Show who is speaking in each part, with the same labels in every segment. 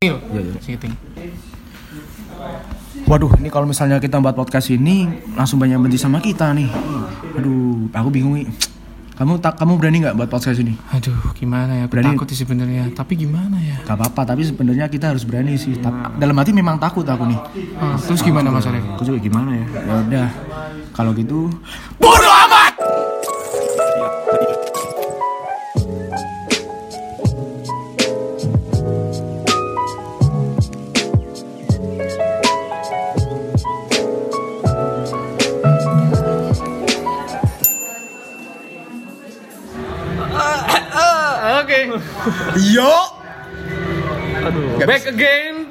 Speaker 1: Iya,
Speaker 2: iya.
Speaker 1: Syuting.
Speaker 2: Waduh, ini kalau misalnya kita buat podcast ini langsung banyak benci sama kita nih. Aduh, aku bingung nih. Kamu tak kamu berani nggak buat podcast ini?
Speaker 1: Aduh, gimana ya? Aku
Speaker 2: Berani-
Speaker 1: takut sih sebenarnya. Tapi gimana ya?
Speaker 2: Gak apa-apa, tapi sebenarnya kita harus berani sih. Ta- Dalam hati memang takut aku nih.
Speaker 1: Ah, terus gimana Mas Arif?
Speaker 2: Aku juga gimana ya? Ya udah, kalau gitu
Speaker 3: Oke.
Speaker 2: Yo,
Speaker 3: Back again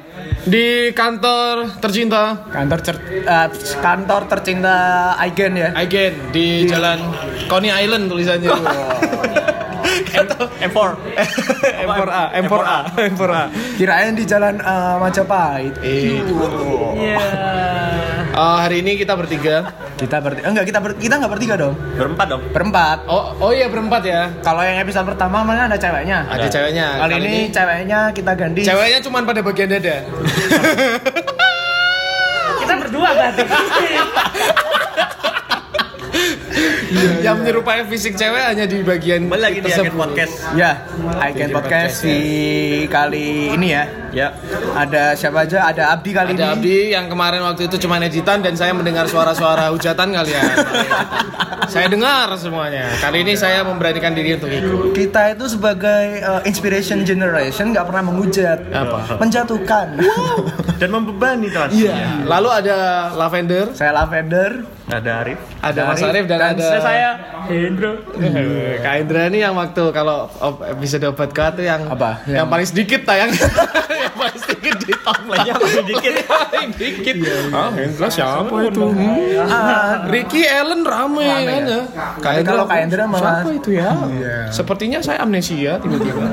Speaker 3: di kantor tercinta
Speaker 2: kantor cer- eh, kantor tercinta Aigen ya.
Speaker 3: again di jalan Coney Island tulisannya. M4 M4A M4A M4A.
Speaker 2: Kirain di jalan eh, Majapahit.
Speaker 3: Ah, hari ini kita bertiga.
Speaker 2: Kita bertiga enggak kita ber- kita nggak bertiga dong.
Speaker 4: Berempat dong.
Speaker 2: Berempat.
Speaker 3: Oh oh iya berempat ya.
Speaker 2: Kalau yang episode pertama mana ada ceweknya?
Speaker 3: Ada ceweknya.
Speaker 2: Iya. Kali ini ceweknya kita ganti.
Speaker 3: ceweknya cuman pada bagian dada.
Speaker 5: Kita berdua berarti.
Speaker 2: Iya,
Speaker 3: Yang menyerupai fisik cewek hanya di bagian
Speaker 4: Kembali lagi di
Speaker 3: tersebut.
Speaker 4: akhir podcast.
Speaker 2: Ya, Icon Podcast di kali ini ya.
Speaker 4: Ya.
Speaker 2: Ada siapa aja? Ada Abdi kali
Speaker 3: Ada
Speaker 2: ini.
Speaker 3: Abdi yang kemarin waktu itu cuma editan dan saya mendengar suara-suara hujatan kalian. saya dengar semuanya. Kali ini saya memberanikan diri untuk ikut.
Speaker 2: Kita itu sebagai uh, inspiration generation nggak pernah menghujat,
Speaker 3: Apa?
Speaker 2: menjatuhkan.
Speaker 4: Dan membebani teman.
Speaker 3: Lalu ada Lavender,
Speaker 2: Saya Lavender,
Speaker 4: Ada Arif.
Speaker 3: ada Mas Arif dan, ada
Speaker 5: Saya Hendro.
Speaker 3: Eh, Kak Indra ini yang waktu kalau op- episode obat kuat tuh yang
Speaker 2: Apa?
Speaker 3: Yang, paling sedikit tayang. yang paling sedikit di timeline.
Speaker 4: Ya, masih dikit.
Speaker 3: paling dikit. Ah, Indra siapa itu?
Speaker 2: Ah,
Speaker 3: Ricky Allen rame, kan ya. Kak
Speaker 2: Tapi
Speaker 3: Indra
Speaker 2: kalau Kak Indra malah-
Speaker 3: siapa itu ya? Sepertinya saya amnesia tiba-tiba.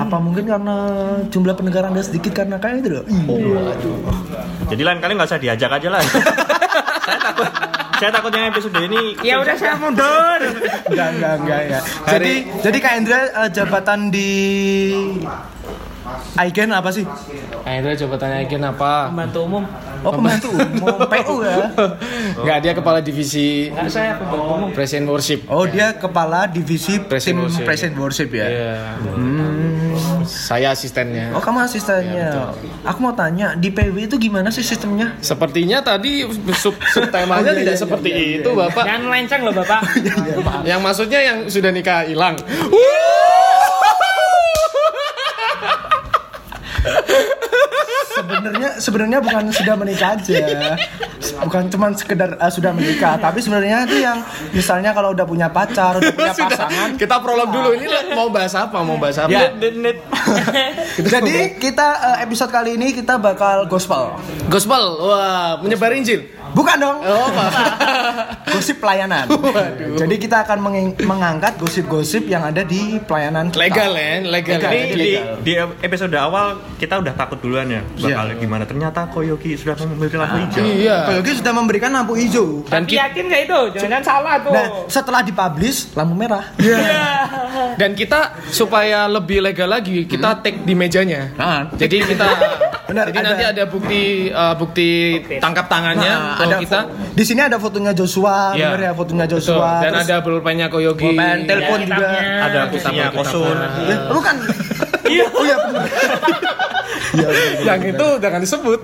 Speaker 2: apa mungkin karena jumlah pendengar anda sedikit karena kayak itu loh. Ih,
Speaker 4: Jadi lain kali nggak usah diajak aja lah. saya takut. Saya takut yang episode ini.
Speaker 5: Ya udah saya mundur.
Speaker 2: Enggak, enggak, enggak, enggak. Jadi, jadi Kak Indra uh, jabatan di Icon apa sih?
Speaker 3: Kak Indra coba tanyain apa?
Speaker 5: Pembantu umum.
Speaker 2: Oh pembantu, mau PU ya?
Speaker 3: Enggak, dia kepala divisi
Speaker 5: Enggak saya pembantu umum.
Speaker 3: Presiden Worship.
Speaker 2: Oh dia kepala divisi
Speaker 3: Present
Speaker 2: tim
Speaker 3: Ya. worship.
Speaker 2: present worship ya.
Speaker 3: Iya. Saya asistennya.
Speaker 2: Oh
Speaker 3: Ya,
Speaker 2: kamu asistennya. Aku mau tanya di PW itu gimana sih sistemnya?
Speaker 3: Sepertinya tadi sub subtemanya
Speaker 2: Iya,
Speaker 3: tidak seperti itu, Bapak.
Speaker 5: Jangan melenceng loh Bapak.
Speaker 3: Yang maksudnya yang sudah nikah hilang.
Speaker 2: Sebenarnya sebenarnya bukan sudah menikah aja, bukan cuman sekedar eh, sudah menikah, tapi sebenarnya itu yang misalnya kalau udah punya pacar, udah punya pasangan. Ya.
Speaker 3: Kita prolog dulu ini mau bahas apa? Mau bahas apa?
Speaker 4: Ya.
Speaker 2: Jadi kita eh, episode kali ini kita bakal gospel,
Speaker 3: Gospel. Wah, menyebar Injil.
Speaker 2: bukan dong?
Speaker 3: Oh, apa?
Speaker 2: Gosip pelayanan. Jadi kita akan menging- mengangkat gosip-gosip yang ada di pelayanan kita.
Speaker 3: Legal ya, legal.
Speaker 2: Legal.
Speaker 3: Ini
Speaker 4: Ini di, di episode awal kita udah takut duluan ya bakal gimana ternyata Koyoki sudah memiliki lampu hijau
Speaker 3: Iya.
Speaker 2: Pak Yogi sudah memberikan lampu hijau.
Speaker 3: Dan
Speaker 5: Tapi
Speaker 3: kita,
Speaker 5: yakin nggak itu? Jangan salah tuh.
Speaker 2: Nah, setelah dipublish lampu merah.
Speaker 3: dan kita supaya lebih legal lagi, kita take di mejanya.
Speaker 2: Nah,
Speaker 3: Jadi kita
Speaker 2: Hmm. Benar,
Speaker 3: Jadi
Speaker 2: ada-
Speaker 3: nanti ada bukti eh, bukti tangkap tangannya
Speaker 2: Nah,
Speaker 3: kalau
Speaker 2: ada
Speaker 3: kita
Speaker 2: fo- di sini ada fotonya Joshua,
Speaker 3: Iya.
Speaker 2: bener ya fotonya
Speaker 3: Betul.
Speaker 2: Joshua.
Speaker 3: dan
Speaker 2: terus
Speaker 3: ada pulpennya Koyogi.
Speaker 2: pulpen, telepon juga.
Speaker 4: ada kursinya kosun
Speaker 2: Ya, bukan. Iya. Oh iya. bener. Iya, bener.
Speaker 3: Yang itu jangan disebut.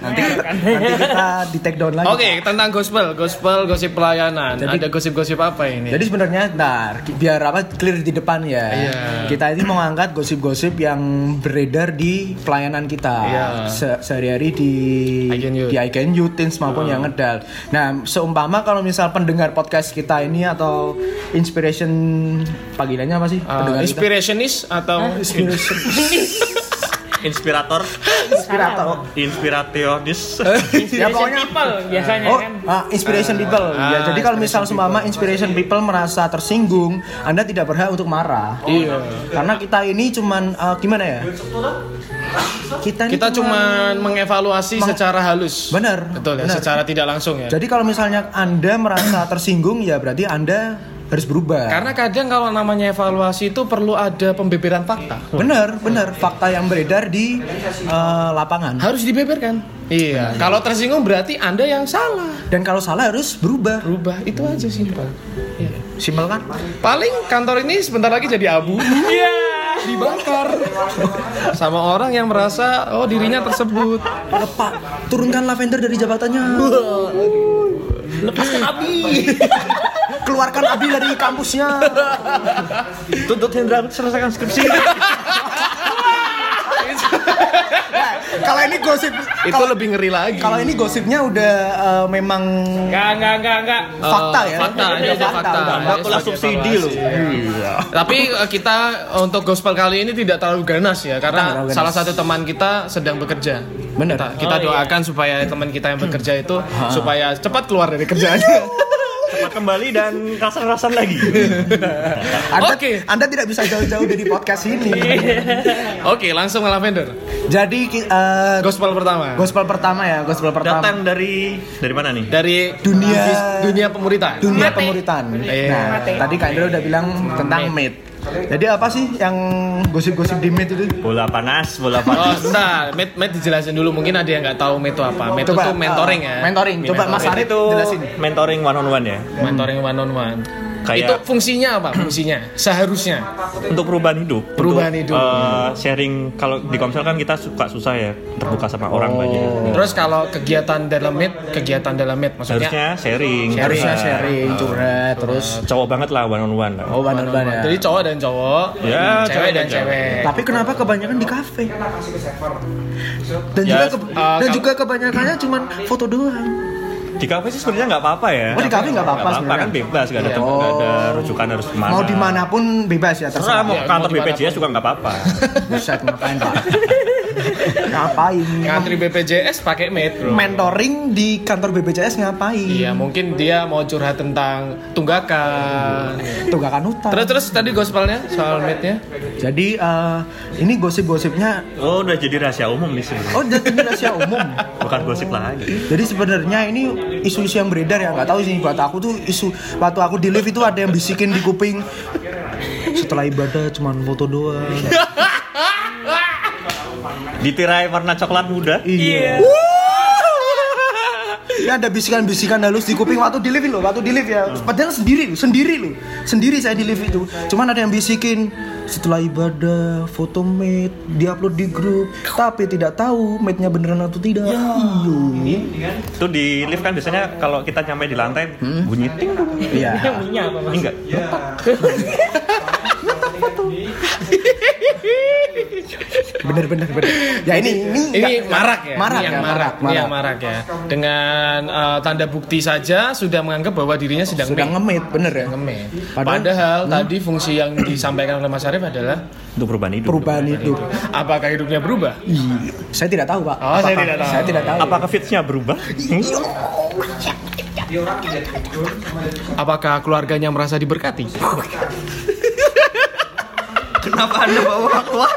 Speaker 2: Nanti kita, nanti kita di take down lagi.
Speaker 3: Oke, tentang gospel, gospel gosip pelayanan.
Speaker 2: Jadi-
Speaker 3: ada gosip-gosip apa ini?
Speaker 2: Jadi sebenarnya ntar biar apa clear di depan ya.
Speaker 3: Iya.
Speaker 2: Kita ini mau angkat gosip-gosip yang beredar di pelayanan kita
Speaker 3: Iya.
Speaker 2: se- sehari-hari di
Speaker 3: Icon Youth.
Speaker 2: di Icon Youth, Teens maupun yang ngedal. Nah, seumpama kalau misal pendengar podcast kita ini atau inspiration panggilannya apa sih?
Speaker 3: Uh,
Speaker 2: pendengar kita?
Speaker 3: inspirationist atau
Speaker 2: Ah,
Speaker 4: inspirator
Speaker 2: inspirator.
Speaker 4: inspirationis
Speaker 3: Eh?
Speaker 2: Ya, pokoknya-
Speaker 5: people biasanya
Speaker 2: Oh,
Speaker 5: kan.
Speaker 2: ah, inspiration people. ya, jadi kalau misal seumpama inspiration people merasa tersinggung, Anda tidak berhak untuk marah.
Speaker 3: Iya.
Speaker 2: Karena kita ini cuman eh, gimana ya? Kita ini
Speaker 3: Kita cuman mengevaluasi secara halus.
Speaker 2: kan Benar,
Speaker 3: Betul ya,
Speaker 2: benar.
Speaker 3: secara tidak langsung ya.
Speaker 2: Jadi kalau misalnya Anda merasa tersinggung ya berarti Anda harus berubah.
Speaker 3: Karena kadang kalau namanya evaluasi itu perlu ada pembeberan fakta.
Speaker 2: Bener, bener. Fakta yang beredar di eh, lapangan.
Speaker 3: Harus dibeberkan. Iya. Kalau tersinggung berarti Anda yang salah.
Speaker 2: Dan kalau salah harus berubah.
Speaker 3: Rubah itu aja simpel. Iya.
Speaker 2: Simpel kan?
Speaker 3: Paling kantor ini sebentar lagi jadi abu.
Speaker 2: Iya.
Speaker 3: Dibakar sama orang yang merasa oh dirinya tersebut.
Speaker 2: Lepak, turunkan lavender dari jabatannya.
Speaker 3: Lepaskan api.
Speaker 2: Keluarkan Abi dari kampusnya.
Speaker 4: Tuntut Hendra selesaikan skripsi.
Speaker 3: Iya,
Speaker 2: Nah, Kalau ini gosip,
Speaker 3: itu
Speaker 2: kalau-
Speaker 3: lebih ngeri lagi.
Speaker 2: kalau ini gosipnya udah eh, memang
Speaker 5: Enggak, enggak, enggak, enggak.
Speaker 3: Ya. Eh,
Speaker 2: fakta ya.
Speaker 3: Fakta, ini ada fakta.
Speaker 4: Tambah
Speaker 3: Ini
Speaker 4: kelas
Speaker 3: sebagai
Speaker 4: subsidi
Speaker 3: evaluasi.
Speaker 4: loh.
Speaker 3: Tapi eh, kita untuk gospel kali ini tidak terlalu ganas ya
Speaker 2: terlalu
Speaker 3: karena
Speaker 2: ganas.
Speaker 3: salah satu teman kita sedang bekerja.
Speaker 2: Bener.
Speaker 3: Kita, kita
Speaker 5: Oh, iya.
Speaker 3: doakan supaya teman kita yang bekerja itu supaya cepat keluar dari
Speaker 2: Iya.
Speaker 3: kerjaannya.
Speaker 4: Cepat kembali dan rasan-rasan lagi.
Speaker 2: Anda,
Speaker 3: Oke. Iya.
Speaker 2: Anda tidak bisa jauh-jauh dari podcast ini.
Speaker 3: Oke, langsung ke Lavender.
Speaker 2: Jadi ki- eh,
Speaker 3: Gospel pertama.
Speaker 2: gospel pertama ya, gospel pertama.
Speaker 4: Datang dari dari mana nih?
Speaker 3: dari
Speaker 2: Dunia-
Speaker 3: dunia pemuritan.
Speaker 2: dunia
Speaker 5: Mate.
Speaker 2: pemuritan.
Speaker 3: Iya.
Speaker 2: Nah, tadi Kak Indra udah bilang tentang mate. Jadi apa sih yang gosip-gosip di mate itu?
Speaker 4: Bola panas,
Speaker 3: Oh,
Speaker 4: bola panas.
Speaker 3: sebentar. Met, Met dijelasin dulu. Mungkin ada yang nggak tahu Met itu apa. Met itu mentoring
Speaker 2: eh,
Speaker 3: ya.
Speaker 2: Mentoring. Coba Mas
Speaker 3: Mentoring.
Speaker 2: Arif
Speaker 4: itu
Speaker 2: jelasin.
Speaker 4: mentoring one on one ya.
Speaker 3: Mentoring one on one.
Speaker 4: Kayak-
Speaker 3: Itu fungsinya apa? Fungsinya seharusnya.
Speaker 4: Untuk perubahan hidup.
Speaker 3: Perubahan hidup.
Speaker 4: Untuk, eh, sharing kalau di Komsel kan kita suka susah ya terbuka sama orang
Speaker 2: Oh.
Speaker 4: banyak.
Speaker 3: Terus kalau kegiatan dalam Met, kegiatan dalam Met maksudnya
Speaker 4: Harusnya sharing.
Speaker 3: Iya.
Speaker 2: Harusnya
Speaker 4: curhat.
Speaker 2: ya? sharing, curhat, terus
Speaker 4: Cowok banget lah one on one.
Speaker 2: oh
Speaker 3: one on one.
Speaker 2: benar-benar ya.
Speaker 3: Iya. Jadi cowok dan cowok,
Speaker 4: Ya,
Speaker 3: cewek dan cewek.
Speaker 2: Tapi kenapa kebanyakan di kafe? Dan
Speaker 4: Ya,
Speaker 2: juga ke-
Speaker 3: eh,
Speaker 2: dan
Speaker 3: kal-
Speaker 2: juga kebanyakannya cuman foto doang.
Speaker 4: Di kafe sih sebenarnya nggak apa-apa ya.
Speaker 2: Oh, di kafe nggak apa-apa
Speaker 4: Nggak
Speaker 2: sebenarnya. Iya. Oh.
Speaker 4: kan bebas, nggak ada, tem- nggak ada rujukan harus kemana.
Speaker 2: Mau dimanapun bebas ya
Speaker 4: Terserah
Speaker 2: terserah.
Speaker 4: mau
Speaker 3: Iya,
Speaker 4: ke kantor
Speaker 3: mau dimanapun.
Speaker 4: BPJS juga nggak apa-apa.
Speaker 2: Buset ngapain pak? ngapain?
Speaker 3: Ngantri BPJS pakai Met, bro.
Speaker 2: Mentoring di kantor BPJS ngapain?
Speaker 3: Iya, mungkin dia mau curhat tentang tunggakan.
Speaker 2: Tunggakan utang.
Speaker 3: Terus terus tadi gospelnya soal Met-nya?
Speaker 2: Jadi eh, ini gosip-gosipnya
Speaker 4: Oh, udah jadi rahasia umum nih sebenarnya.
Speaker 2: Oh, jadi ini rahasia umum.
Speaker 4: Bukan gosip lagi.
Speaker 2: Jadi sebenarnya ini isu-isu yang beredar ya nggak tahu sih buat aku tuh isu waktu aku di lift itu ada yang bisikin di kuping setelah ibadah cuman foto doang.
Speaker 4: Ditirai warna coklat muda.
Speaker 2: Iya. Ini ada bisikan-bisikan halus di kuping waktu di lift loh, waktu di lift ya. Padahal sendiri loh, sendiri loh. Sendiri saya di lift itu. Cuman ada yang bisikin setelah ibadah, foto mate, diupload di grup, tapi tidak tahu mate-nya beneran atau tidak. Iya.
Speaker 4: Itu di lift kan biasanya kalau kita nyampe di lantai
Speaker 2: Hmm.
Speaker 4: bunyi ting dong.
Speaker 2: Iya.
Speaker 5: Yang punya apa, Mas?
Speaker 4: Enggak.
Speaker 2: Bener bener bener. Ya ini ini
Speaker 3: Ini
Speaker 2: nggak-
Speaker 3: marak ya,
Speaker 2: Marak
Speaker 3: ini yang
Speaker 2: ya,
Speaker 3: marak, ini yang
Speaker 2: marak.
Speaker 3: marak ya. Dengan eh, tanda bukti saja sudah menganggap bahwa dirinya sedang
Speaker 2: Sudah
Speaker 3: mate.
Speaker 2: ngemit bener ya.
Speaker 3: Ngemit. Padahal,
Speaker 2: Padahal-
Speaker 3: tadi fungsi yang disampaikan oleh Mas Arief adalah
Speaker 4: Untuk perubahan hidup.
Speaker 2: Perubahan hidup.
Speaker 3: apakah hidupnya berubah?
Speaker 2: Iya. Saya tidak tahu, Pak.
Speaker 3: Oh, saya
Speaker 2: Apakah-
Speaker 3: tidak tahu.
Speaker 2: Saya tidak tahu.
Speaker 4: Apakah fitsnya berubah? Iya.
Speaker 3: Apakah keluarganya merasa diberkati?
Speaker 4: Kenapa anda bawa keluar?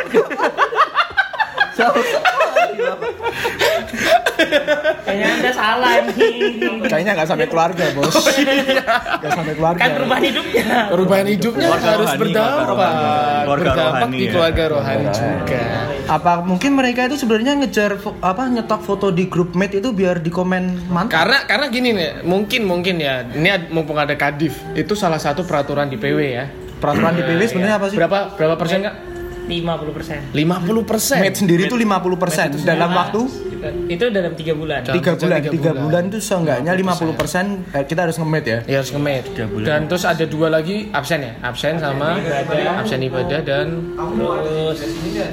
Speaker 5: Kayaknya Anda salah nih.
Speaker 2: Kayaknya nggak sampai keluarga, Bos.
Speaker 3: Oh, iya,
Speaker 2: Nggak sampai keluarga. ya.
Speaker 5: Kan perubahan hidupnya.
Speaker 3: Perubahan hidupnya
Speaker 4: Keluarga
Speaker 3: harus
Speaker 4: rohani,
Speaker 3: berdampak,
Speaker 4: keluarga rohani. Keluarga
Speaker 3: berdampak
Speaker 4: rohani
Speaker 3: di
Speaker 4: ya.
Speaker 3: keluarga rohani juga.
Speaker 2: Apa mungkin mereka itu sebenarnya ngejar fo- apa nyetak foto di grup mate itu biar dikomen mantap.
Speaker 3: Karena karena gini nih, mungkin mungkin ya. Ini ad- mumpung ada Kadif, itu salah satu peraturan di PW ya.
Speaker 2: Peraturan di PW sebenarnya apa sih?
Speaker 3: Berapa berapa persen kak?
Speaker 5: 50%.
Speaker 3: 50 persen.
Speaker 2: Mate sendiri itu 50% dalam waktu
Speaker 5: Itu dalam 3 bulan.
Speaker 3: Dalam
Speaker 2: tiga
Speaker 3: kerja
Speaker 2: bulan.
Speaker 3: tiga
Speaker 2: Tiga
Speaker 3: bulan.
Speaker 2: bulan itu seenggaknya 50% eh, kita harus nge-mate ya.
Speaker 3: Ya harus nge-mate.
Speaker 4: Tiga bulan.
Speaker 3: Dan terus ada dua lagi absen ya, absen sama absen ibadah dan
Speaker 5: Terus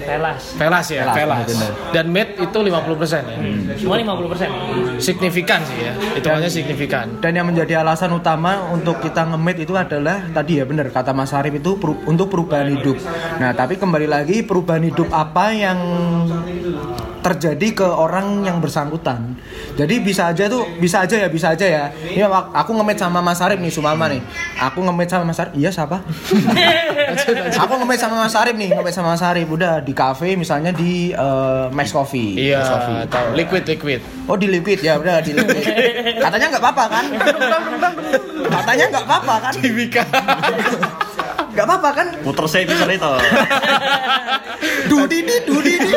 Speaker 5: telas.
Speaker 3: velas ya,
Speaker 2: Velas,
Speaker 3: velas.
Speaker 2: benar.
Speaker 3: Dan mate itu 50 persen ya.
Speaker 4: Hmm.
Speaker 5: Semua 50%.
Speaker 3: Signifikan sih ya, hitungannya signifikan.
Speaker 2: Dan yang menjadi alasan utama untuk kita nge-mate itu adalah tadi ya benar kata Mas Arif itu peru- untuk perubahan hidup. Nah, tapi kembali lagi perubahan hidup apa yang terjadi ke orang yang bersangkutan. Jadi bisa aja tuh, bisa aja ya, bisa aja ya. Ini wak- aku nge-match sama Mas Arif nih, Sumama nih. Aku nge-match sama Mas Arif. Iya siapa? aku nge-match sama Mas Arif nih, nge-match sama Mas Arif. Udah di cafe misalnya di eh, Max Coffee.
Speaker 3: Iya,
Speaker 2: Max Coffee.
Speaker 3: tahu. Liquid, liquid.
Speaker 2: Oh di liquid ya udah di liquid. Katanya nggak apa-apa kan? Katanya nggak apa-apa kan?
Speaker 3: Timika.
Speaker 2: Nggak apa-apa kan?
Speaker 4: Puter saya bisa itu.
Speaker 2: Dudi di dudi di.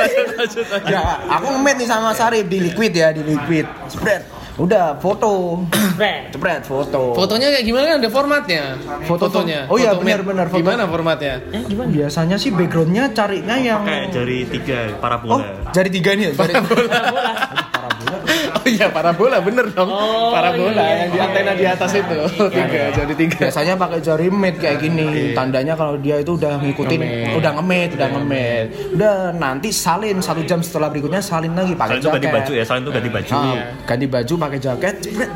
Speaker 2: Ya aku ngemet nih sama Sarif di liquid ya di liquid. Spread. Udah foto.
Speaker 5: Brand.
Speaker 2: Spread foto.
Speaker 3: Fotonya kayak gimana kan ada formatnya?
Speaker 2: Foto-
Speaker 3: fotonya.
Speaker 2: oh iya,
Speaker 3: Foto
Speaker 2: benar,
Speaker 3: made.
Speaker 2: benar, foto.
Speaker 3: Gimana formatnya?
Speaker 5: Eh, gimana?
Speaker 2: Biasanya sih backgroundnya carinya yang
Speaker 4: Kayak jari tiga
Speaker 2: Oh,
Speaker 4: parabola.
Speaker 2: jari tiga nih ya? Jari...
Speaker 3: Oh iya, parabola bener dong.
Speaker 5: Oh,
Speaker 3: parabola
Speaker 5: iya,
Speaker 3: yang di
Speaker 5: iya.
Speaker 3: antena di atas itu.
Speaker 2: iya,
Speaker 3: tiga, jadi tiga.
Speaker 2: Biasanya pakai jari med kayak gini. Tandanya kalau dia itu udah ngikutin,
Speaker 3: Ngemed.
Speaker 2: udah ngemed, udah ngemed. Udah nanti salin satu jam setelah berikutnya salin lagi pakai
Speaker 4: Salin tuh ganti
Speaker 2: jaket.
Speaker 4: baju ya, salin tuh ganti baju.
Speaker 2: Ah, ganti baju pakai jaket, jepret,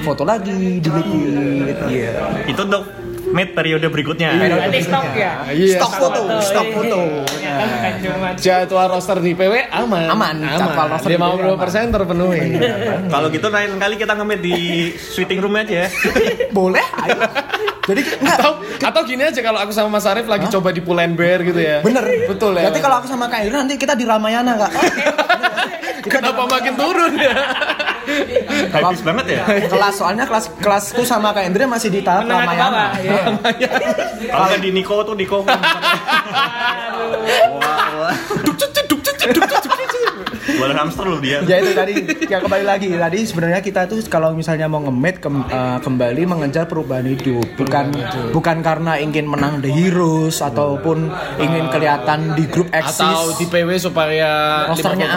Speaker 2: foto lagi di liquid. Iya.
Speaker 4: Itu untuk mid periode berikutnya.
Speaker 5: Berarti stok ya?
Speaker 3: Iya.
Speaker 2: Stok foto, stok foto. Nah.
Speaker 5: Iya, kan bukan cuma
Speaker 3: Jadwal roster di PW aman.
Speaker 2: Aman, jadwal roster di PW aman.
Speaker 3: 50% terpenuhi.
Speaker 2: Iya,
Speaker 4: Kalau gitu lain kali kita nge-meet di sweating room aja ya.
Speaker 2: Boleh, ayo. Jadi enggak
Speaker 3: atau atau gini aja kalau aku sama Mas Arief lagi coba di Pull and Bear gitu ya.
Speaker 2: bener.
Speaker 3: Betul ya.
Speaker 2: Nanti kalau aku sama Kak Ira nanti kita di Ramayana enggak?
Speaker 3: Kenapa makin turun ya?
Speaker 4: Habis banget ya.
Speaker 2: kelas soalnya kelas kelasku sama Kak Indra masih di tahap
Speaker 5: menengah ke
Speaker 2: Ramayana.
Speaker 5: bawah. ya.
Speaker 4: Kalau nggak di Niko tuh Niko. kan.
Speaker 3: Duk, cuk, cuk, duk, cuk, cuk, duk, cuk, cuk, cuk.
Speaker 4: Bola hamster loh dia.
Speaker 2: ya itu tadi ya kembali lagi tadi sebenarnya kita tuh kalau misalnya mau ngemet kem- eh, kembali mengejar perubahan hidup bukan bukan karena ingin menang the heroes ataupun ingin kelihatan di grup eksis
Speaker 3: Atau di PW supaya
Speaker 2: rosternya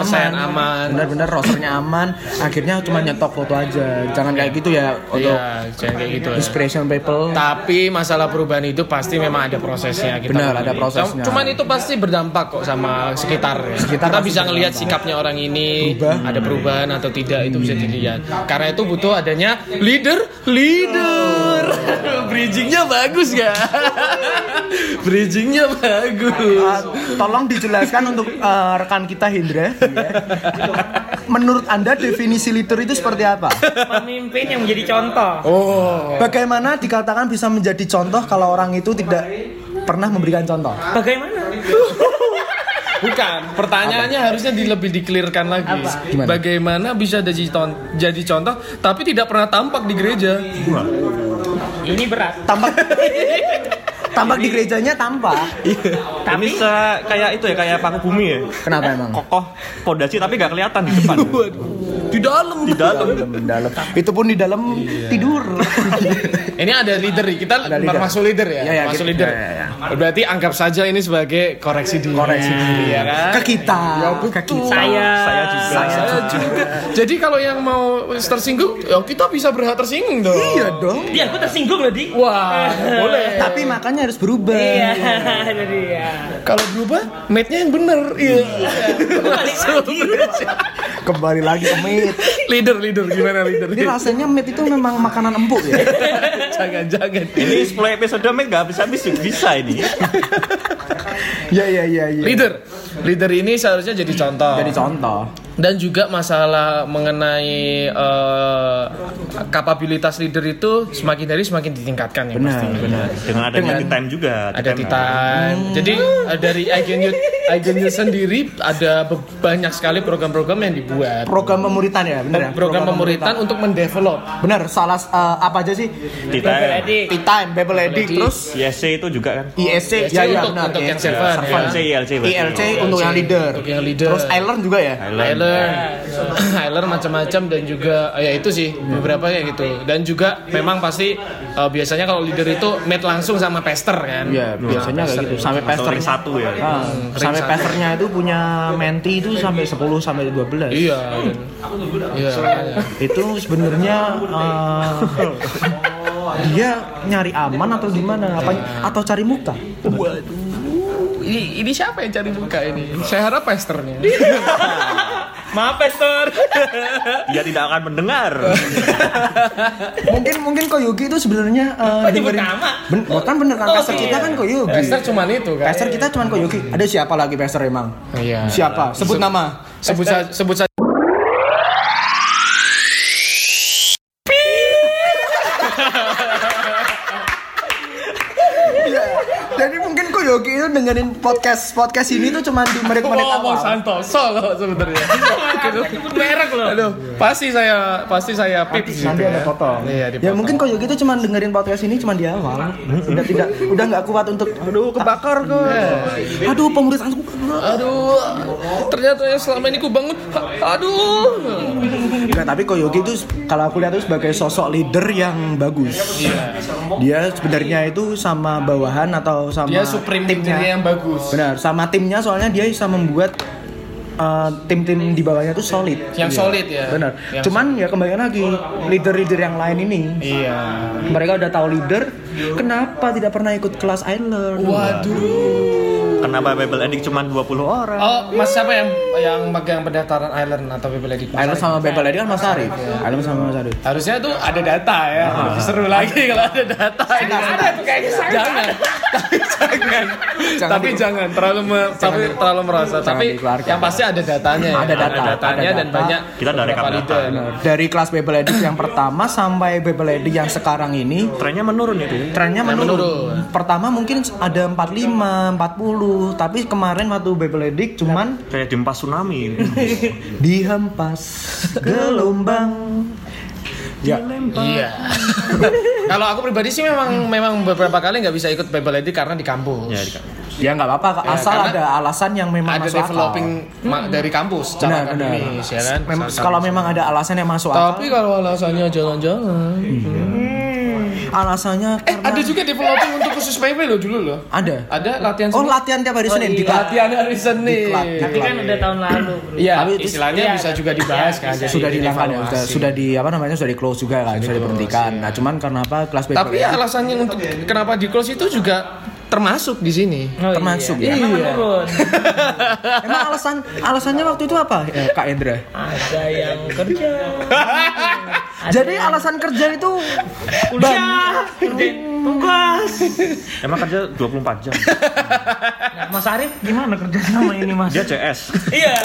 Speaker 3: 50%
Speaker 2: aman,
Speaker 3: aman.
Speaker 2: bener-bener rosternya aman akhirnya cuma nyetok foto aja jangan kayak gitu ya untuk
Speaker 3: Iya, jangan kayak gitu. ya.
Speaker 2: inspiration people
Speaker 3: Tapi masalah perubahan itu pasti memang ada prosesnya kita.
Speaker 2: Benar, ada
Speaker 3: lalui.
Speaker 2: prosesnya.
Speaker 3: Cuman itu pasti berdampak kok sama sekitar. ya.
Speaker 2: Sekitar
Speaker 3: kita
Speaker 2: pasti
Speaker 3: bisa ngelihat sikapnya orang ini
Speaker 2: Berubah. Iya.
Speaker 3: ada perubahan atau tidak itu bisa dilihat. Karena itu butuh adanya leader, leader.
Speaker 2: Oh.
Speaker 3: Bridgingnya bagus ya. Bridgingnya
Speaker 2: Eh,
Speaker 3: bagus.
Speaker 2: tolong dijelaskan untuk eh, rekan kita Hindra ya.
Speaker 3: Iya.
Speaker 2: menurut anda definisi leader itu seperti apa
Speaker 5: Pemimpin yang menjadi contoh.
Speaker 3: Oh,
Speaker 2: Bagaimana dikatakan bisa menjadi contoh kalau orang itu tidak pernah memberikan contoh?
Speaker 5: Bagaimana?
Speaker 3: bukan. Pertanyaannya harusnya di, lebih dikelirkan lagi.
Speaker 2: Gimana?
Speaker 3: Bagaimana bisa jadi, ton- jadi contoh tapi tidak pernah tampak di gereja?
Speaker 5: Ini berat.
Speaker 2: Tampak tampak di gerejanya tampak.
Speaker 4: Ini se kayak itu ya kayak paku bumi ya.
Speaker 2: Kenapa emang?
Speaker 4: Kokoh pondasi tapi nggak kelihatan di depan.
Speaker 3: Di dalam.
Speaker 4: Di dalam.
Speaker 2: dalam. Itu pun di dalam
Speaker 3: Iya.
Speaker 2: tidur.
Speaker 3: Ini ada leader nih. kita
Speaker 2: Ada leader.
Speaker 3: masuk leader ya,
Speaker 2: Iya, iya,
Speaker 3: masuk
Speaker 2: gitu.
Speaker 3: leader.
Speaker 2: Iya, iya,
Speaker 3: Berarti anggap saja ini sebagai koreksi diri.
Speaker 2: Koreksi diri.
Speaker 3: ya kan?
Speaker 2: Ke kita. Ke kita.
Speaker 5: Saya.
Speaker 4: Saya juga.
Speaker 3: Saya juga. Jadi kalau yang mau tersinggung, ya kita bisa berhak tersinggung dong.
Speaker 2: Iya dong.
Speaker 5: Dia aku tersinggung loh, Di.
Speaker 3: Wah, boleh.
Speaker 2: Tapi makanya harus berubah.
Speaker 5: Iya, jadi ya.
Speaker 3: Kalau berubah, mate-nya yang bener. Iya.
Speaker 5: Balik lagi.
Speaker 2: Kembali lagi ke meat.
Speaker 3: leader, leader gimana leader?
Speaker 2: Ini rasanya meat itu memang makanan empuk ya.
Speaker 3: jangan, jangan.
Speaker 4: Ini 10 episode mid nggak habis habis bisa ini.
Speaker 2: Iya iya iya iya.
Speaker 3: Leader, leader ini seharusnya jadi contoh.
Speaker 2: Jadi contoh.
Speaker 3: dan juga masalah mengenai eh, kapabilitas leader itu semakin hari semakin ditingkatkan ya
Speaker 2: Benar,
Speaker 3: pastinya.
Speaker 2: benar.
Speaker 4: Dengan adanya di time juga.
Speaker 3: Ada
Speaker 2: Kan,
Speaker 3: titan. Jadi eh, dari Agenyu Agenyu sendiri ada be- banyak sekali program-program yang dibuat.
Speaker 2: Program pemuritan ya, benar ya?
Speaker 3: Program pemuritan untuk mendevelop.
Speaker 2: Benar, salah eh, apa aja sih?
Speaker 4: Titan.
Speaker 5: Jadi,
Speaker 2: Tea time, Bebel
Speaker 3: Eddict.
Speaker 2: Eddict, terus
Speaker 4: ISC itu juga kan.
Speaker 2: ISC,
Speaker 3: ISC untuk- untuk yang server, ya.
Speaker 2: Server.
Speaker 4: ILC, ILC berarti.
Speaker 2: ILC untuk yang leader.
Speaker 3: Untuk yang leader.
Speaker 2: Terus Island juga ya?
Speaker 3: Island, Island macam-macam dan juga eh, ya itu sih
Speaker 2: Hmm.
Speaker 3: beberapa kayak gitu. Dan juga memang pasti eh, biasanya kalau leader itu meet langsung sama pester kan.
Speaker 2: Iya, biasanya kayak gitu. Sampai
Speaker 4: Atau
Speaker 2: pester
Speaker 4: ring satu ya.
Speaker 2: Ah, sampai
Speaker 3: Hmm, satu.
Speaker 2: pesternya itu punya menti itu sampai 10 sampai 12.
Speaker 3: Iya. Iya. makanya.
Speaker 2: Itu sebenarnya eh, dia nyari aman atau gimana? Apa
Speaker 3: Iya.
Speaker 2: atau cari muka?
Speaker 3: Ini, ini siapa yang cari muka ini? Saya harap pesternya.
Speaker 5: maaf, Pastor.
Speaker 4: Dia tidak akan mendengar.
Speaker 2: Mungkin mungkin Koyuki itu sebenarnya eh,
Speaker 5: nyebut
Speaker 2: dengerin-
Speaker 5: nama?
Speaker 2: Ben, bukan bener kan
Speaker 5: Oh,
Speaker 2: pester
Speaker 5: iya.
Speaker 2: kita kan Koyuki.
Speaker 3: Pester cuman itu kan.
Speaker 2: Pester kita cuman Koyuki. Ada siapa lagi pester emang?
Speaker 3: Iya.
Speaker 2: Siapa? Sebut nama.
Speaker 3: sebut saja sebut saja
Speaker 2: Iya. Jadi mungkin Koyogi itu dengerin podcast podcast ini tuh cuma di menit-menit
Speaker 3: ngomong
Speaker 2: awal.
Speaker 3: Santoso loh Oh, sebenarnya Gitu.
Speaker 5: Nyebut merek loh.
Speaker 3: aduh pasti saya pasti saya pip
Speaker 6: Nanti ada potong.
Speaker 3: iya dipotong.
Speaker 2: Ya mungkin Koyogi itu cuma dengerin podcast ini cuma di awal. Udah tidak udah nggak kuat untuk aduh kebakar kok. Aduh pemurisanku.
Speaker 3: aduh ternyata yang selama ini ku bangun ha- aduh
Speaker 2: Nah, tapi Koyogi itu kalau aku lihat itu sebagai sosok leader yang bagus. Iya. Dia sebenarnya itu sama bawahan atau sama
Speaker 3: dia supreme timnya yang bagus
Speaker 2: Benar, sama timnya soalnya dia bisa membuat uh, tim-tim di bawahnya tuh solid.
Speaker 3: yang solid ya
Speaker 2: Benar.
Speaker 3: Yang
Speaker 2: Cuman ya kembali lagi leader-leader yang lain ini
Speaker 3: iya
Speaker 2: mereka udah tahu leader, kenapa tidak pernah ikut kelas I learn?
Speaker 3: waduh
Speaker 4: Kenapa Bible Ending cuma 20 orang?
Speaker 3: oh mas siapa yang yang megang pendaftaran island atau bpld
Speaker 2: I learn sama Bebel Edi kan Mas Arif. I learn sama Mas Arif.
Speaker 3: harusnya tuh ada data ya
Speaker 2: Ah.
Speaker 3: Lebih seru lagi kalau ada data ini
Speaker 5: Ada tuh gitu. kayaknya sangat.
Speaker 3: jangan tapi jangan tapi jangan terlalu me- tapi terlalu merasa tapi
Speaker 2: dikeluarkan.
Speaker 3: yang pasti ada datanya ya.
Speaker 2: Ada data,
Speaker 3: datanya
Speaker 2: ada
Speaker 3: dan
Speaker 2: data.
Speaker 3: banyak
Speaker 4: Kita ada
Speaker 3: beberapa
Speaker 4: rekam data.
Speaker 3: leader.
Speaker 2: Dari kelas Bebel Edi yang pertama sampai Bebel Edi yang sekarang ini
Speaker 4: Trennya menurun itu ya.
Speaker 2: trennya
Speaker 3: Nah,
Speaker 2: menurun.
Speaker 3: menurun.
Speaker 2: Pertama mungkin ada 45, 40, tapi kemarin waktu Bebeledik cuman
Speaker 4: Kayak gempa tsunami.
Speaker 2: Iya. dihempas gelombang. Ya,
Speaker 3: Iya. Kalau aku pribadi sih memang memang beberapa kali nggak bisa ikut Bible Lady karena di kampus.
Speaker 4: ya, di-
Speaker 2: ya nggak apa-apa asal
Speaker 3: karena
Speaker 2: ada alasan yang memang
Speaker 3: Ada
Speaker 2: masuk akal.
Speaker 3: developing
Speaker 5: Hmm.
Speaker 3: ma- dari kampus secara
Speaker 2: Benar, benar.
Speaker 3: akademis ya kan.
Speaker 2: Mem-
Speaker 3: Secara-
Speaker 2: kalau memang ada alasan yang masuk akal,
Speaker 3: tapi kalau alasannya jalan-jalan.
Speaker 2: Hmm. alasannya
Speaker 3: Eh,
Speaker 2: karena
Speaker 3: ada juga developing untuk khusus PP loh dulu loh.
Speaker 2: ada.
Speaker 3: Ada iya, latihan
Speaker 2: Oh,
Speaker 3: seni.
Speaker 2: latihan tiap hari Senin Iya. di Pak.
Speaker 3: latihan hari Senin.
Speaker 2: Diklat,
Speaker 5: Tapi kan udah tahun lalu, Bro.
Speaker 3: Iya,
Speaker 2: Tapi itu-
Speaker 3: istilahnya
Speaker 5: Iya,
Speaker 3: bisa
Speaker 5: tapi-
Speaker 3: juga dibahas kan. jadi
Speaker 2: sudah dihilangkan ya, sudah,
Speaker 3: evaluasi.
Speaker 2: sudah di apa namanya sudah di close juga kan, sudah diberhentikan. Nah, cuman karena apa kelas ya? Bebel
Speaker 3: iya. Tapi
Speaker 2: Edi
Speaker 3: alasannya untuk kenapa di close itu juga termasuk di sini.
Speaker 2: termasuk
Speaker 5: Iya.
Speaker 2: ya.
Speaker 5: Emang menurun.
Speaker 2: Emang alasan alasannya waktu itu apa? Eh, Kak Endra.
Speaker 5: Ada yang kerja.
Speaker 2: Jadi alasan kerja itu
Speaker 5: Kuliah, kerja tugas.
Speaker 4: Emang kerja 24 jam.
Speaker 5: Nah, Mas Arif gimana kerja sama ini, Mas?
Speaker 4: Dia CS.
Speaker 5: Iya.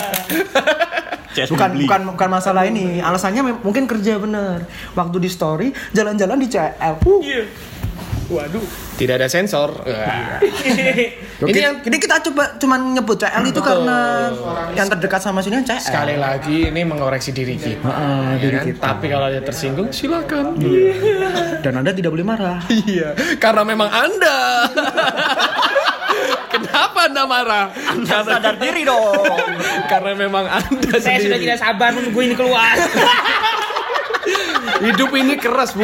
Speaker 4: CS
Speaker 2: bukan
Speaker 4: Bibli.
Speaker 2: bukan bukan masalah ini. Alasannya mem- mungkin kerja bener. Waktu di story jalan-jalan di CL. Uh.
Speaker 3: Tidak ada sensor. Iya.
Speaker 2: Iya. Ini
Speaker 3: Ini yang
Speaker 2: ini kita coba cuman nyebut CL itu karena yang terdekat sama sini kan CL.
Speaker 3: sekali lagi ini mengoreksi diri kita.
Speaker 2: Heeh,
Speaker 3: ya
Speaker 2: diri
Speaker 3: kan?
Speaker 2: kita. Iya.
Speaker 3: Tapi kalau ada tersinggung silakan.
Speaker 2: Dan Anda tidak boleh marah.
Speaker 3: Iya, karena memang Anda. Kenapa Anda marah?
Speaker 2: Iya. Sadar diri dong.
Speaker 3: karena memang Anda
Speaker 5: Saya sudah
Speaker 3: sendiri.
Speaker 5: tidak sabar menunggu ini keluar.
Speaker 3: Hidup ini keras, Bu.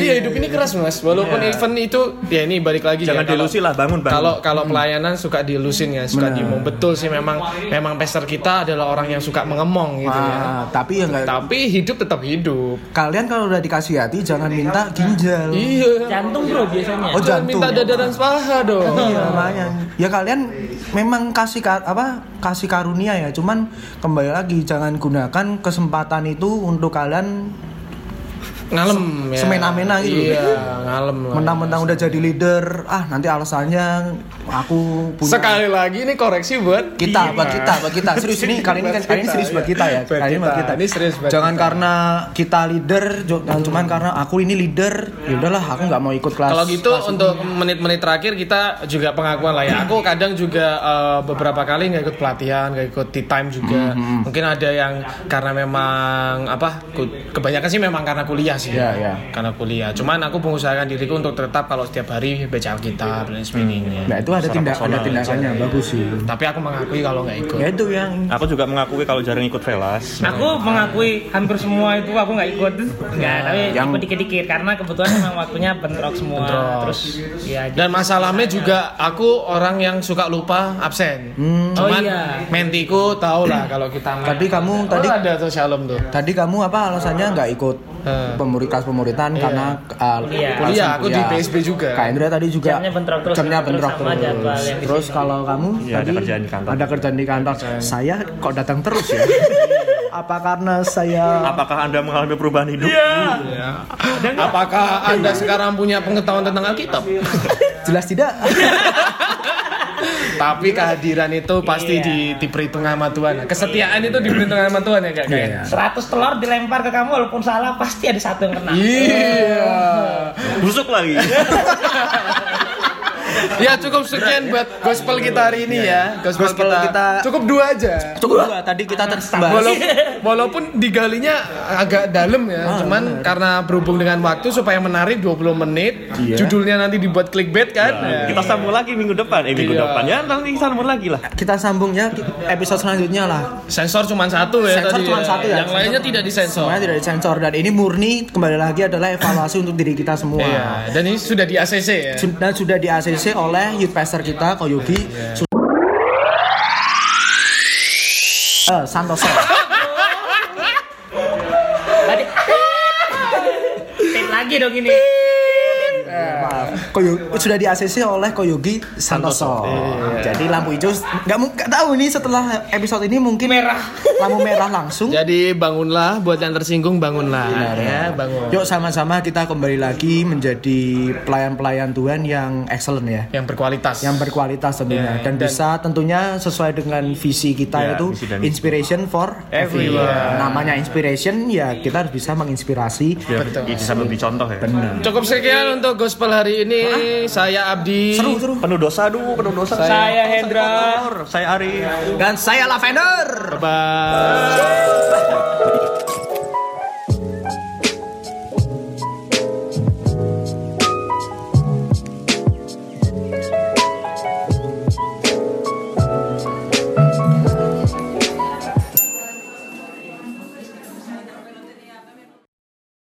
Speaker 3: iya, hidup ini keras, Mas. Walaupun event itu ya ini balik lagi
Speaker 4: Iya. Jangan
Speaker 3: ya, kalau-
Speaker 4: dilusi lah, bangun Hmm. bangun.
Speaker 3: Kalau kalau pelayanan suka dilusin ya, suka diomong. Betul sih memang memang pester kita adalah orang yang suka mengemong gitu ya.
Speaker 2: Ah, tapi ya enggak
Speaker 3: Tapi hidup tetap hidup.
Speaker 2: kalian kalau udah dikasih hati jangan minta ginjal.
Speaker 3: Iya.
Speaker 5: Jantung, Bro, biasanya.
Speaker 2: Oh,
Speaker 3: Jangan
Speaker 2: Hmm. jantung.
Speaker 3: minta dada dan paha dong.
Speaker 2: Iya, makanya. Ya kalian memang kasih ka- apa kasih karunia ya, cuman kembali lagi jangan gunakan kesempatan itu untuk kalian
Speaker 3: ngalem ya.
Speaker 2: semena-mena gitu.
Speaker 3: Iya, ngalem. ya. lah.
Speaker 2: mentang-mentang udah jadi leader, ah nanti alasannya aku punya
Speaker 3: Sekali lagi ini koreksi buat
Speaker 2: kita buat kita buat kita serius ini kali ini kan kali ini serius buat kita ya
Speaker 3: iya. Buat
Speaker 2: kali ini buat
Speaker 3: kita.
Speaker 2: kita
Speaker 3: Ini serius buat
Speaker 2: jangan
Speaker 3: kita. Iya.
Speaker 2: karena kita leader jo- jangan cuman karena aku ini leader ya udahlah aku nggak mau ikut kelas
Speaker 3: Kalau gitu untuk
Speaker 2: ya.
Speaker 3: menit-menit terakhir kita juga pengakuan lah ya. Aku kadang juga eh, beberapa kali nggak ikut pelatihan, nggak ikut tea time juga.
Speaker 2: Mhm.
Speaker 3: Mungkin ada yang karena memang apa? ku- Kebanyakan sih memang karena kuliah sih.
Speaker 2: Iya, iya.
Speaker 3: Karena kuliah. Cuman aku mengusahakan diriku untuk tetap kalau setiap hari baca Alkitab dan sebagainya.
Speaker 2: nah itu ada tindak ada tindakannya
Speaker 3: Iya.
Speaker 2: bagus sih
Speaker 3: Tapi aku mengakui kalau nggak ikut.
Speaker 2: ya itu yang
Speaker 4: Aku juga mengakui kalau jarang ikut velas.
Speaker 5: Aku mengakui hampir semua itu aku nggak ikut. Nggak, tapi
Speaker 2: Iya. Yang-
Speaker 5: ikut dikit-dikit karena kebetulan memang waktunya bentrok semua. Terus ya
Speaker 3: Dan masalahnya juga aku orang yang suka lupa absen.
Speaker 5: Oh
Speaker 3: Cuman
Speaker 5: iya.
Speaker 3: mentiku tau lah kalau kita main.
Speaker 2: Hmm. Tapi kamu
Speaker 3: Oh,
Speaker 2: tadi-
Speaker 3: ada tuh shalom tuh.
Speaker 2: tadi kamu apa alasannya nggak ikut
Speaker 4: Iya.
Speaker 3: Eh.
Speaker 2: pemurid kelas pemuritan karena uh,
Speaker 5: Kuliah.
Speaker 2: alasan
Speaker 3: Kuliah, Iya, aku di PSB juga.
Speaker 2: Kak Indra tadi juga
Speaker 5: Iya. Jamnya bentrok terus,
Speaker 2: jamnya bentrok
Speaker 5: sama
Speaker 2: terus.
Speaker 5: jadwal yang di
Speaker 2: Terus
Speaker 5: sini.
Speaker 2: kalau kamu
Speaker 4: Iya, ada
Speaker 2: tadi
Speaker 4: kerjaan di kantor.
Speaker 2: ada kerjaan di kantor.
Speaker 3: Iya.
Speaker 2: Saya kok datang terus ya? Apa karena saya
Speaker 4: Apakah Anda mengalami perubahan hidup?
Speaker 3: Ya. Apakah
Speaker 2: Iya.
Speaker 3: Anda sekarang punya pengetahuan tentang Alkitab?
Speaker 2: jelas tidak?
Speaker 3: Tapi kehadiran itu pasti
Speaker 5: Iya.
Speaker 3: di diperhitungkan sama Tuhan. Kesetiaan itu diperhitungkan sama Tuhan ya, Kak. Kak?
Speaker 2: Iya.
Speaker 5: 100 telur dilempar ke kamu walaupun salah pasti ada satu yang kena.
Speaker 3: Iya.
Speaker 4: busuk lagi
Speaker 3: Ya cukup sekian buat gospel kita hari ini ya. Gospel,
Speaker 2: Iya. Gospel
Speaker 3: kita.
Speaker 2: kita-
Speaker 3: cukup dua aja.
Speaker 2: Coba tadi kita tersembar.
Speaker 3: Walaupun, walaupun digalinya agak dalam ya,
Speaker 2: Ah,
Speaker 3: cuman karena berhubung dengan waktu supaya menarik 20 menit,
Speaker 2: Iya.
Speaker 3: judulnya nanti dibuat clickbait kan. Ya.
Speaker 4: kita sambung lagi minggu depan eh minggu
Speaker 3: Iya.
Speaker 4: depan ya nanti kita sambung lagi lah
Speaker 2: Kita sambungnya ke episode selanjutnya lah.
Speaker 3: Sensor cuma satu ya
Speaker 2: Sensor
Speaker 3: tadi.
Speaker 2: cuma satu ya.
Speaker 3: Yang lainnya tidak disensor.
Speaker 2: Semuanya tidak disensor dan ini murni kembali lagi adalah evaluasi untuk diri kita semua.
Speaker 3: Iya, dan ini sudah di ACC ya.
Speaker 2: Dan sudah di ACC oleh youth pastor kita Koyogi
Speaker 3: Iya.
Speaker 2: Su- Eh, Santoso.
Speaker 5: Tadi Tit lagi dong ini.
Speaker 2: Maaf. Koyo sudah di ACC oleh Koyogi Santoso.
Speaker 3: Iya.
Speaker 2: Jadi lampu hijau nggak mu- nggak tahu nih setelah episode ini mungkin
Speaker 5: Merah.
Speaker 2: lampu merah langsung.
Speaker 3: Jadi bangunlah buat yang tersinggung bangunlah ya, bangun.
Speaker 2: Yuk sama-sama kita kembali lagi menjadi pelayan-pelayan Tuhan yang excellent ya.
Speaker 3: Yang berkualitas.
Speaker 2: yang berkualitas tentunya
Speaker 3: Ya, dan-
Speaker 2: dan, bisa tentunya sesuai dengan visi kita
Speaker 4: Ya,
Speaker 2: itu
Speaker 4: visi dan misi.
Speaker 2: inspiration for
Speaker 4: Everyone.
Speaker 2: namanya inspiration ya kita harus bisa menginspirasi
Speaker 5: Iya,
Speaker 4: biar bisa lebih contoh ya
Speaker 3: Cukup sekian untuk gospel hari ini. Saya Abdi.
Speaker 2: seru seru
Speaker 4: penuh dosa aduh penuh dosa
Speaker 5: Saya Hendra.
Speaker 4: saya Ari
Speaker 2: dan saya Lavender
Speaker 3: Bye.